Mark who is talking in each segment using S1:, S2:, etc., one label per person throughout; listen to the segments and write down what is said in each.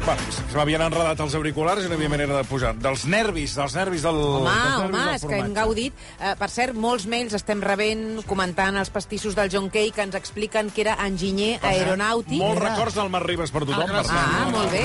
S1: Va, se m'havien enredat els auriculars i no hi havia manera de posar. Dels nervis, dels nervis del...
S2: Home,
S1: dels nervis
S2: home,
S1: del
S2: és que hem
S1: formatge.
S2: gaudit. Eh, per cert, molts mails estem rebent comentant els pastissos del John Kay que ens expliquen que era enginyer
S1: eh,
S2: aeronàutic.
S1: Molts records del Marc Ribas per tothom. per
S2: Ah, molt bé.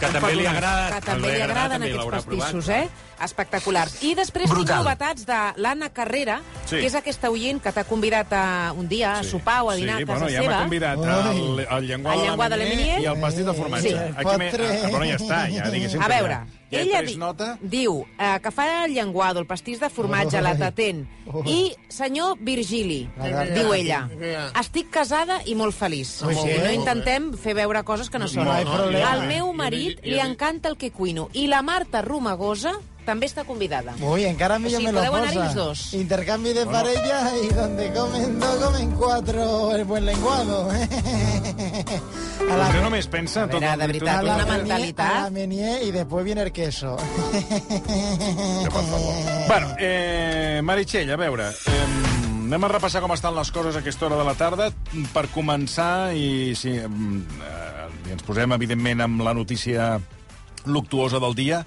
S3: Que també li
S2: que
S3: agrada.
S2: també li agraden aquests pastissos, eh? Espectaculars. I després tinc novetats de l'Anna Carrera,
S1: Sí.
S2: que és aquesta oient que t'ha convidat a, un dia a sopar o a dinar
S1: sí,
S2: a casa
S1: bueno, ja m'ha
S2: seva.
S1: convidat al, al llenguà,
S2: Al llenguà de la Minier.
S1: i al pastís de formatge.
S2: Sí.
S1: Aquí m'he- ah, bueno, ja està, ja diguéssim.
S2: A
S1: que
S2: veure,
S1: ja, ja he
S2: ella
S1: pres
S2: di-
S1: nota.
S2: diu eh, que fa el llenguado, el pastís de formatge, la tatent. I senyor Virgili, diu ella, estic casada i molt feliç. I no intentem fer veure coses que no són. Al meu marit li encanta el que cuino. I la Marta Romagosa també està convidada.
S4: Uy, encara
S2: O
S4: millor
S2: sigui,
S4: me lo
S2: podeu anar-hi
S4: posa.
S2: els dos.
S4: Intercambio de parella y donde comen dos, comen cuatro. El buen lenguado. ¿eh? a
S1: Vostè
S4: la,
S1: només pensa... en tot
S2: veure,
S1: el-
S2: de veritat,
S4: a
S1: tot
S4: la
S1: el-
S2: una
S4: menier-
S2: mentalitat.
S4: a la menier y después viene el queso.
S1: Bueno, eh, Meritxell, a veure... Eh, anem a repassar com estan les coses a aquesta hora de la tarda. Per començar, i sí, mm, eh, i ens posem, evidentment, amb la notícia luctuosa del dia,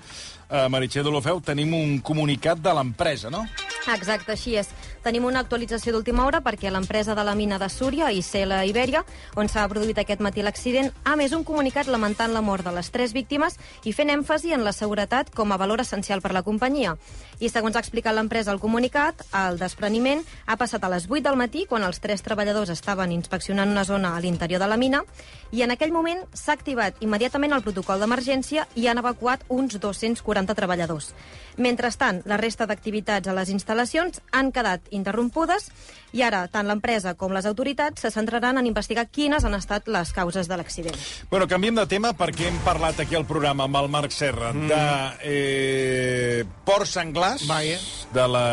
S1: eh, Meritxell Dolofeu, tenim un comunicat de l'empresa, no?
S5: Exacte, així és. Tenim una actualització d'última hora perquè l'empresa de la mina de Súria, Isela Iberia, on s'ha produït aquest matí l'accident, ha més un comunicat lamentant la mort de les tres víctimes i fent èmfasi en la seguretat com a valor essencial per la companyia. I segons ha explicat l'empresa al comunicat, el despreniment ha passat a les 8 del matí quan els tres treballadors estaven inspeccionant una zona a l'interior de la mina i en aquell moment s'ha activat immediatament el protocol d'emergència i han evacuat uns 240 treballadors. Mentrestant, la resta d'activitats a les instal·lacions han quedat interrompudes i ara tant l'empresa com les autoritats se centraran en investigar quines han estat les causes de l'accident.
S1: Bueno, canviem de tema perquè hem parlat aquí al programa amb el Marc Serra mm. de eh, porcs senglars,
S6: Vaja.
S1: de la,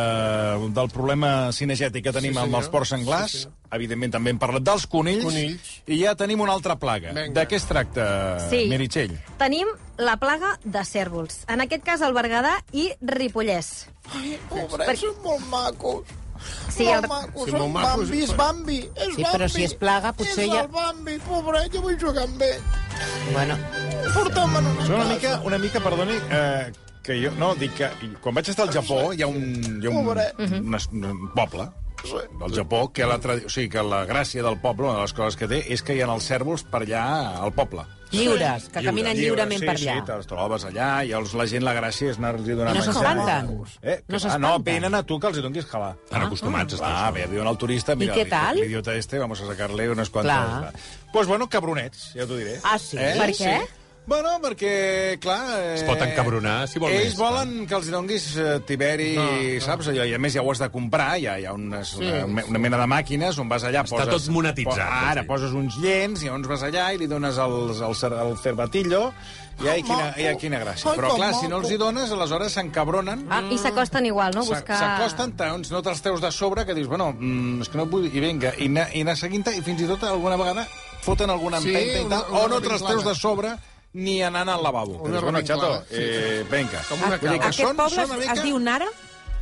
S1: del problema cinegètic que tenim sí, amb els porcs senglars. Sí, Evidentment també hem parlat dels conills.
S6: Conills.
S1: I ja tenim una altra plaga.
S6: Vinga.
S1: De què es tracta, Eh, Meritxell?
S5: Tenim la plaga de cèrvols. En aquest cas, al Berguedà i Ripollès.
S4: Pobres, són molt macos.
S5: Sí,
S4: molt
S5: el-
S4: macos,
S6: Sí,
S4: són
S6: molt macos,
S4: Bambi, és
S6: però-
S4: Bambi, és
S2: Sí,
S4: Bambi.
S2: però si és plaga, pues potser
S4: és
S2: ja-
S4: el Bambi, pobret, jo vull jugar amb ell.
S2: Bueno,
S4: Porta'm en una
S1: Són una
S4: casa.
S1: mica, una mica perdoni, eh, que jo... No, dic que quan vaig estar al Japó hi ha un, hi ha un,
S4: Pobret.
S1: un, es- un poble del Japó, que la, tradi- o sigui, que la gràcia del poble, una de les coses que té, és que hi ha els cèrvols per allà al poble.
S2: lliures, que
S1: Lliure,
S2: caminen
S1: lliure,
S2: lliurement
S1: sí,
S2: per
S1: Sí,
S2: allà.
S1: te'ls trobes allà i els, la gent, la gràcia és anar-los donant
S2: I no
S1: menjar.
S2: s'espanten?
S1: Eh, que, no ah, no,
S2: No s'espanten?
S1: venen a tu que els hi donis calar.
S3: Estan acostumats,
S1: Ah, a veure, diuen al turista... Mira,
S2: què tal?
S1: L'idiota este, vamos a sacarle unes quantes...
S2: Clar.
S1: Doncs pues bueno, cabronets, ja t'ho diré. Eh?
S2: Ah, sí?
S5: Per què?
S1: Bueno, perquè, clar... Eh,
S3: Es pot encabronar, si vol
S1: Ells
S3: més,
S1: volen que els hi donguis eh, tiberi, no, no. saps? Allò, I a més ja ho has de comprar, ja hi ha unes, sí, una, una mena de màquines on vas allà...
S3: Està tot monetitzat,
S1: Po ara
S3: sí.
S1: poses uns llens, i llavors vas allà i li dones el, el, cer- el cervatillo, i ai, quina, ai, quina gràcia.
S4: Ai,
S1: Però
S4: com
S1: clar, si
S4: maco.
S1: no els hi dones, aleshores s'encabronen...
S5: Ah, I s'acosten igual, no?
S1: S'a-
S5: Buscar...
S1: S'acosten, doncs, no te'ls treus de sobre, que dius, bueno, mm, és que no vull... I vinga, i anar, i anar seguint-te, i fins i tot alguna vegada foten alguna
S6: Sí,
S1: empenta i
S6: una-
S1: tal, o
S6: una
S1: no te'ls
S6: vinclada.
S1: treus de sobre ni anant al lavabo.
S6: Una
S1: Dius, bueno,
S6: revinclada,
S1: xato,
S6: sí, sí.
S1: eh, vinga.
S6: Com una
S1: Vull dir
S6: cabra.
S1: que
S2: Aquest
S1: són,
S2: poble
S1: són una
S2: es-
S1: mica...
S2: es diu Nara?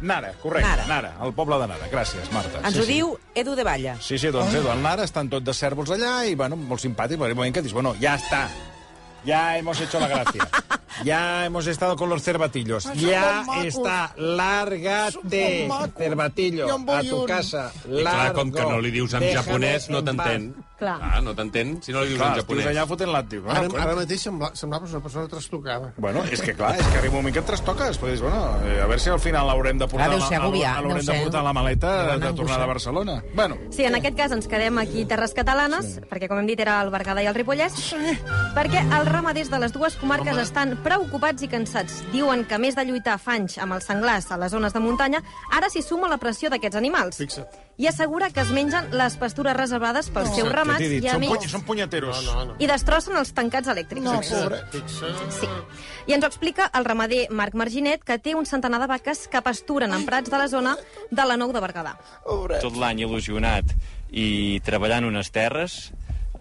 S1: Nara, correcte,
S2: Nara.
S1: Nara. Nara, el poble de Nara. Gràcies, Marta.
S2: Ens ho diu Edu de Valla.
S1: Sí, sí, doncs Edu, el Nara, estan tot de cèrvols allà i, bueno, molt simpàtic, però hi ha un moment que dius, bueno, ja està, ya hemos hecho la gracia. Ya hemos estado con los cervatillos.
S4: Ay, son
S1: Ya
S4: tan macos.
S1: está,
S4: Son tan
S1: lárgate,
S4: macos.
S1: cervatillo,
S4: Yo en voy
S1: a tu
S4: un.
S1: casa.
S3: I clar, com que no li dius en
S1: Déjame
S3: japonès, no
S1: en
S3: t'entén.
S1: paz.
S5: Clar.
S3: Ah, no t'entén si no li dius
S1: Clar,
S3: en
S1: estius
S3: japonès.
S1: allà fotent l'àctic.
S6: Ara,
S1: Bueno,
S6: ara mateix em sembla, semblaves una persona trastocada.
S1: Bueno, és que clar, és que arriba un moment que et trastoques, perquè dius, bueno, eh, a veure si al final l'haurem de portar,
S2: Ah, deu ser
S1: la,
S2: agobiar,
S1: l'haurem
S2: deu
S1: de
S2: ser.
S1: portar la maleta de tornada a Barcelona. Bueno,
S5: Sí, en aquest cas ens quedem aquí Terres Catalanes, sí. perquè, com hem dit, era el Berguedà i el Ripollès, sí. perquè els ramaders de les dues comarques Home. estan preocupats i cansats. Diuen que, a més de lluitar fa anys amb els senglars a les zones de muntanya, ara s'hi suma la pressió d'aquests animals.
S6: Fixa't.
S5: i assegura que es mengen les pastures reservades pels seus
S1: Què
S5: ramats
S1: t'he dit?
S5: i
S1: Són, puny,
S5: amics
S1: són punyeteros.
S6: No, no, no.
S5: i destrossen els tancats elèctrics.
S4: No,
S6: Fixa,
S4: pobre.
S6: fixa.
S5: Sí. I ens ho explica el ramader Marc Marginet, que té un centenar de vaques que pasturen en prats de la zona de la Nou de Berguedà.
S7: tot l'any il·lusionat i treballant unes terres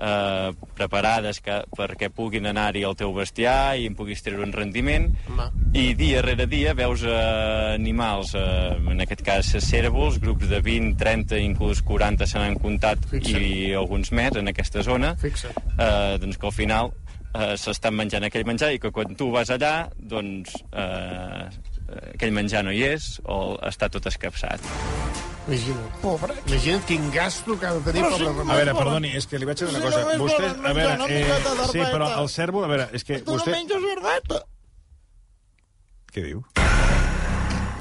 S7: eh, preparades que, perquè puguin anar-hi el teu bestiar i en puguis treure un rendiment
S6: Home.
S7: i dia rere dia veus eh, animals, eh, en aquest cas cérvols, grups de 20, 30 inclús 40 se n'han comptat
S6: Fixa't.
S7: i alguns més en aquesta zona
S6: Fixa't.
S7: eh, doncs que al final eh, s'estan menjant aquell menjar i que quan tu vas allà doncs eh, aquell menjar no hi és o està tot escapçat
S6: Imagina't.
S4: Pobre.
S6: Imagina't quin gasto que ha de tenir per la
S1: A
S6: remarca.
S1: veure, perdoni, és que li vaig a dir una
S4: Si
S1: cosa.
S4: no és
S1: Vostès,
S4: volen
S1: a veure,
S4: menjar una miqueta
S1: eh,
S4: d'herbeta.
S1: sí, però el cèrvol, a veure, és que
S4: Tu no
S1: vostè...
S4: menges herbeta.
S1: Què diu?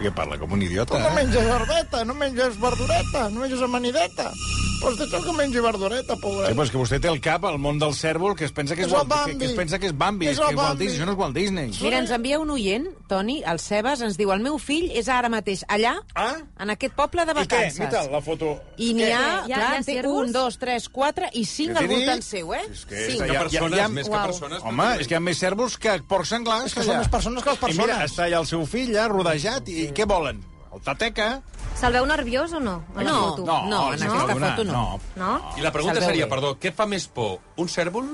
S1: Que parla com un
S8: Ah.
S1: idiota,
S4: Tu no
S1: eh?
S4: menges herbeta, no menges verdureta, no menges amanideta. Però és això que mengi verdureta,
S1: Sí,
S4: pobre.
S1: però és que vostè té al cap el món del cèrvol que es pensa que és,
S4: És el
S1: Walt- que, que es
S4: Bambi.
S1: pensa que és Bambi,
S4: És
S1: és,
S4: el
S1: que és Walt
S4: Bambi.
S1: Disney, això no és Walt Disney.
S2: Mira, ens envia un oient, Toni, el Cebes, ens diu el meu fill és ara mateix allà,
S1: Ah?
S2: en aquest poble de
S1: I què?
S2: vacances.
S1: Mira la foto.
S2: I n'hi ha,
S5: Què? Hi ha-
S2: clar,
S5: hi ha
S2: en té
S5: cérvols?
S2: un, dos, tres, quatre i cinc
S1: Què t'he
S2: al voltant
S1: dit?
S2: seu, eh?
S1: És que
S2: Cinc.
S1: està
S3: Hi ha
S1: ja-
S3: persones,
S1: ja-
S3: més que
S2: Uau.
S3: persones.
S1: Home, és que hi ha més cèrvols que porcs senglars.
S4: És que són les persones que les
S1: I mira,
S4: persones.
S1: està allà el seu fill, ja, rodejat, i què volen? El tateca?
S5: Se'l veu nerviós o no? A la
S2: No,
S5: foto?
S2: no, en aquesta
S1: dona,
S2: foto no.
S5: No?
S3: I la pregunta
S2: Se'l veu
S3: seria,
S2: bé.
S3: perdó, què fa més por, un cèrvol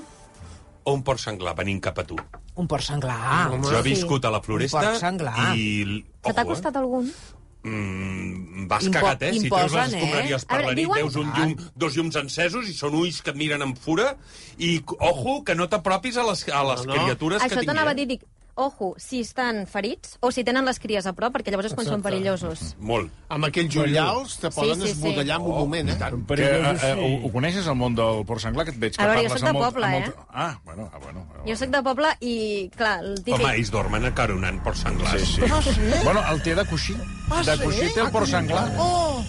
S3: o un porc senglar venint cap a tu?
S2: Un porc senglar.
S3: Home, jo he viscut a la floresta
S2: Un porc senglar.
S3: i...
S5: Se t'ha
S3: Ojo,
S5: costat algun?
S3: Eh? Mm, vas
S2: Impo-
S3: cagat, eh? Si treus
S2: imposen,
S3: les
S2: eh?
S3: escombraries
S5: A
S3: per
S5: veure,
S3: la nit,
S5: diuen-
S3: veus un llum, dos llums encesos i són ulls que et miren amb fura i, ojo, que no t'apropis a les, a les
S6: No, no.
S3: criatures que
S5: Això
S3: tinguin.
S5: t'anava a dir, dic, ojo, si estan ferits o si tenen les cries a prop, perquè llavors és quan són
S6: Exacte.
S5: perillosos.
S3: Molt.
S6: Amb aquells ullals te poden
S5: Sí, sí, sí.
S6: esbudellar en un moment, eh?
S1: Que, eh, eh, ho, ho coneixes, el món del porc senglar, que et veig que
S5: A veure, jo
S1: parles
S5: soc de
S1: amb molt...
S5: poble,
S1: amb molt...
S5: eh?
S1: Ah, bueno, ah, bueno. Ah, bueno.
S5: Jo sóc de poble i, clar, el típic...
S3: Home, ells dormen encaronant porc senglars.
S1: Sí, sí.
S4: Ah, sí?
S1: Bueno, el té de coixí.
S4: Ah,
S1: de
S4: sí?
S1: coixí té el porc senglar.
S4: Oh,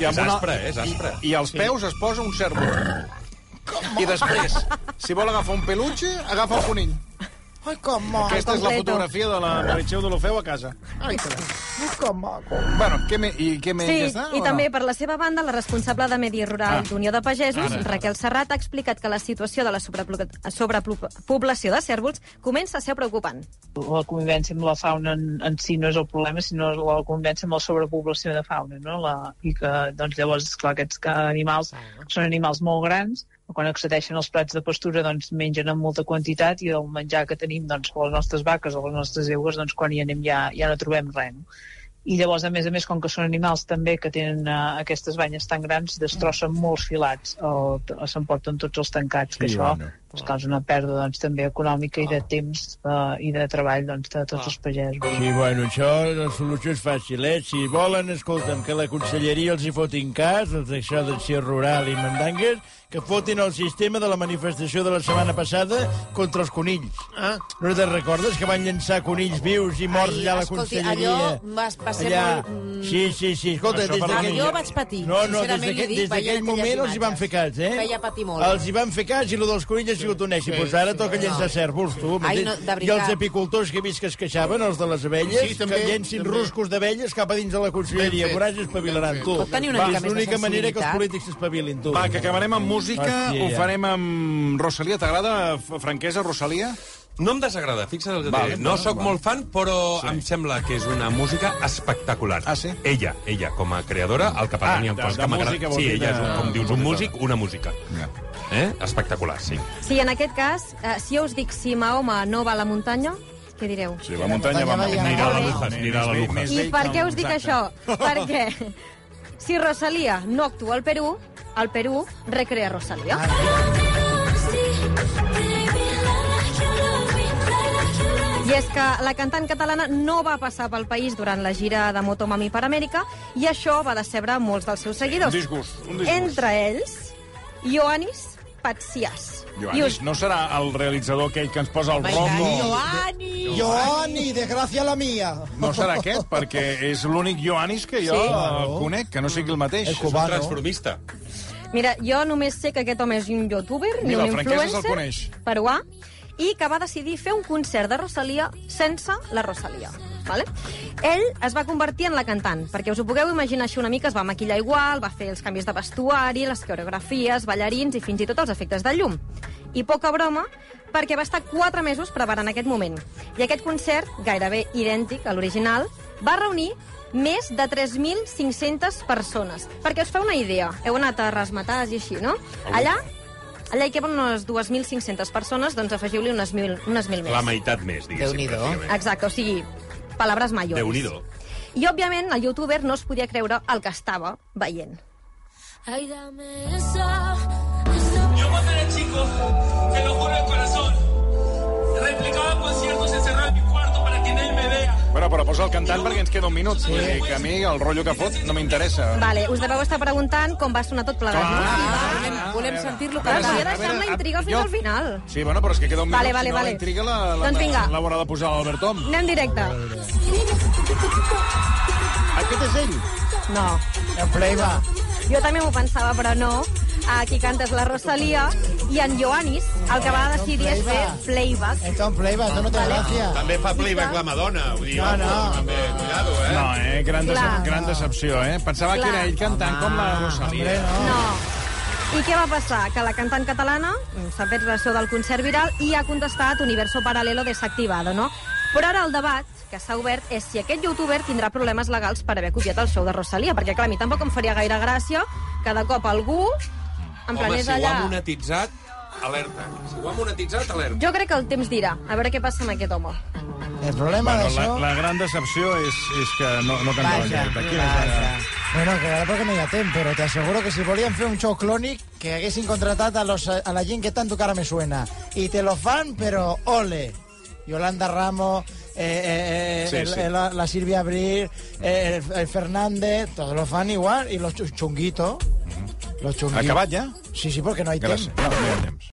S1: I
S3: És aspre, eh? És aspre.
S1: I als peus es posa un cèrvol. I després, si vol agafar un peluche, agafa el conill.
S4: ai, que maco,
S1: Aquesta és la
S5: Ah, completo.
S1: fotografia de la Meritxell de l'Ofeu a casa.
S6: Ai, caram.
S4: que maco.
S1: Bueno, què me, i què més?
S5: Sí,
S1: ja està,
S5: i
S1: o
S5: també
S1: No?
S5: per la seva banda, la responsable de Medi Rural d'Unió de Pagesos, Raquel Serrat, ha explicat que la situació de la sobrepobla- sobrepoblació de cèrvols comença a ser preocupant.
S9: la convivència amb la fauna en, en si no és el problema, sinó la convivència amb la sobrepoblació de fauna, no? La, I que, doncs, llavors, esclar, aquests que animals són animals molt grans, però quan accedeixen als prats de pastura, doncs, mengen en molta quantitat i el menjar que tenim, doncs, per les nostres vaques o les nostres eugues, doncs, quan hi anem ja, ja no trobem res, no? I llavors, a més a més, com que són animals també que tenen uh, aquestes banyes tan grans, destrossen molts filats o, o s'emporten tots els tancats, que
S1: Sí,
S9: això
S1: bueno.
S9: doncs, causa una pèrdua doncs, també econòmica i de temps uh, i de treball doncs, de tots els pagesos.
S8: Sí, bueno, això, la solució és fàcil, eh? Si volen, escolta'm, que la conselleria els hi fotin cas, els d'això d'acció rural i mandangues, que fotin el sistema de la manifestació de la setmana passada contra els conills.
S6: Ah.
S8: No te'n recordes que van llençar conills vius i morts
S2: Ai,
S8: allà a la
S2: escolti,
S8: conselleria?
S2: allò va- va ser molt, mm,
S8: Sí, sí, sí. Escolta,
S1: Això
S8: des
S1: per
S8: d'aquell...
S1: la
S2: Jo vaig patir,
S8: No, no, des
S2: sincerament
S8: d'aquell
S2: li dic,
S8: des d'aquell
S2: veient
S8: moment
S2: aquelles
S8: els hi van fer cas, eh?
S2: Feia patir molt.
S8: Els hi van fer cas i lo dels conills ha sigut un èxit. Doncs ara toca llençar cèrvols, tu. m'entens?
S2: Ai, no,
S8: I
S2: de
S8: els
S2: veritat.
S8: apicultors que he vist que es queixaven, els de les abelles,
S6: Sí, també,
S8: que llencin
S6: també.
S8: ruscos d'abelles cap a dins de la conselleria.
S6: Ben fet.
S8: Veuràs, espavilaran,
S6: Ben fet.
S8: tu.
S2: Pot tenir una
S8: Va,
S2: mica
S8: és
S2: més de
S8: l'única manera que els
S2: sensibilitat.
S8: polítics s'espavilin, tu.
S1: Va, que acabarem amb música,
S3: Ah,
S8: Hòstia,
S1: ho
S8: ja.
S1: farem amb Rosalia. T'agrada, f- franquesa, Rosalia?
S3: No em desagrada, fixa't el que
S1: Val,
S3: diré. No
S1: val,
S3: sóc
S1: val.
S3: molt fan, però sí. em sembla que és una música espectacular.
S1: Ah, sí?
S3: Ella, ella, com a creadora, el que passa
S1: Ah,
S3: ah,
S1: de-
S3: em fas
S1: de
S3: que m'agrada...
S1: música vol
S3: Sí,
S1: dir
S3: ella és, un,
S1: de-
S3: com dius, un músic, una música.
S1: Ja.
S3: Eh? Espectacular, sí.
S5: Sí, en aquest cas, eh, si jo us dic si Mahoma no va a la muntanya, què direu?
S1: Sí, la muntanya va...
S4: muntanya va-
S3: Anirà a la
S5: bé.
S3: Lujas, anirà a la Lujas.
S5: I per què us dic això? Perquè si Rosalia no actua al Perú, el Perú recrea Rosalia. I és que la cantant catalana no va passar pel país durant la gira de Motomami per Amèrica i això va decebre molts dels seus seguidors.
S1: un disgust, un disgust.
S5: Entre ells, Ioannis Patsias.
S1: Joanis, no serà el realitzador aquell que ens posa el rombo?
S2: Joani!
S4: Joani, desgracia la mia.
S1: No serà aquest, perquè és l'únic Joanis que jo
S5: Sí.
S1: eh, conec, que no sigui el mateix.
S4: El
S3: Un
S4: cubano.
S3: transformista.
S5: Mira, jo només sé que aquest home és un youtuber, ni
S1: Mira,
S5: un
S1: el francès se'l coneix.
S5: influencer, peruà, i que va decidir fer un concert de Rosalia sense la Rosalia. Vale? Ell es va convertir en la cantant, perquè us ho pugueu imaginar així una mica, es va maquillar igual, va fer els canvis de vestuari, les coreografies, ballarins i fins i tot els efectes de llum. I poca broma, perquè va estar 4 mesos preparant aquest moment. I aquest concert, gairebé idèntic a l'original, va reunir més de 3.500 persones. Perquè us fa una idea, heu anat a resmetars i així, no? Allà, allà hi queben unes 2.500 persones, doncs afegiu-li unes 1.000 unes 1.000 més.
S3: La meitat més, diguéssim. pràcticament.
S5: Exacte, o sigui, palabres mayores.
S3: Déu-n'hi-do.
S5: I, òbviament, el youtuber no es podia creure el que estava veient.
S10: Ay, dame esa, esa...
S11: Yo cuando era chico, te lo juro de corazón, replicaba conciertos encerrado en mi cuarto para que nadie me vea.
S1: Bueno, però posa el cantant perquè ens queda un minut. Sí. Que a mi el rotllo que fot no m'interessa.
S5: Vale, us deveu estar preguntant com va sonar tot plegat. no? Sí, va. volem,
S2: Ah, volem sentir-lo
S5: clar.
S1: A
S5: Volia
S1: veure,
S5: deixar la
S1: a-
S5: intriga fins
S1: jo-
S5: al final.
S1: Sí, bueno, però és que queda un minut.
S5: Vale, vale,
S1: si no
S5: vale.
S1: L'intriga la, la,
S5: Doncs vinga.
S1: l'haurà de posar l'Albert Tom.
S5: Anem directe.
S1: Aquest és ell.
S5: No.
S4: El playba.
S5: Jo també m'ho pensava, però no. Aquí cantes la Rosalia i en Ioannis el que va decidir és fer playback.
S4: Esto es un playback, esto no te da gracia.
S3: També fa playback la Madonna, vull dir...
S4: No, no.
S3: També, cuidado, eh?
S1: No, eh? Gran,
S5: Clar.
S1: decep gran decepció, eh? Pensava
S5: Clar.
S1: que era ell cantant com la Rosalia.
S5: No. I què va passar? Que la cantant catalana mm, s'ha fet ressò del concert viral i ha contestat Universo Paralelo desactivado, no? Però ara el debat que s'ha obert és si aquest youtuber tindrà problemes legals per haver copiat el show de Rosalia, perquè, clar, a mi tampoc em faria gaire gràcia que de cop algú en plan
S3: Home,
S5: és
S3: si ho
S5: allà...
S3: ha monetitzat, alerta. Si ho ha monetitzat, alerta.
S5: Jo crec que el temps dirà. A veure què passa amb aquest home.
S4: El problema
S1: Bueno,
S4: de
S1: la,
S4: eso...
S1: la gran decepció és, és que no, no canta la
S4: Vaja,
S1: llibreta. Quina és la...
S4: vaja. Bueno, que ara perquè no hi ha temps, però t'asseguro que si volien fer un show clònic que haguessin contratat a, los, a la gent que tant tu cara me suena. I te lo fan, però ole. Yolanda Ramos, eh, eh, eh,
S1: Sí,
S4: el-
S1: sí.
S4: el- la, la Silvia Abril, eh, el, el Fernández, todos lo fan igual, y los chu- chunguitos. Los chunguitos.
S1: Acabat ja?
S4: Sí, sí, porque no hay
S1: Gràcies.
S4: temps.
S1: No, no hi ha temps.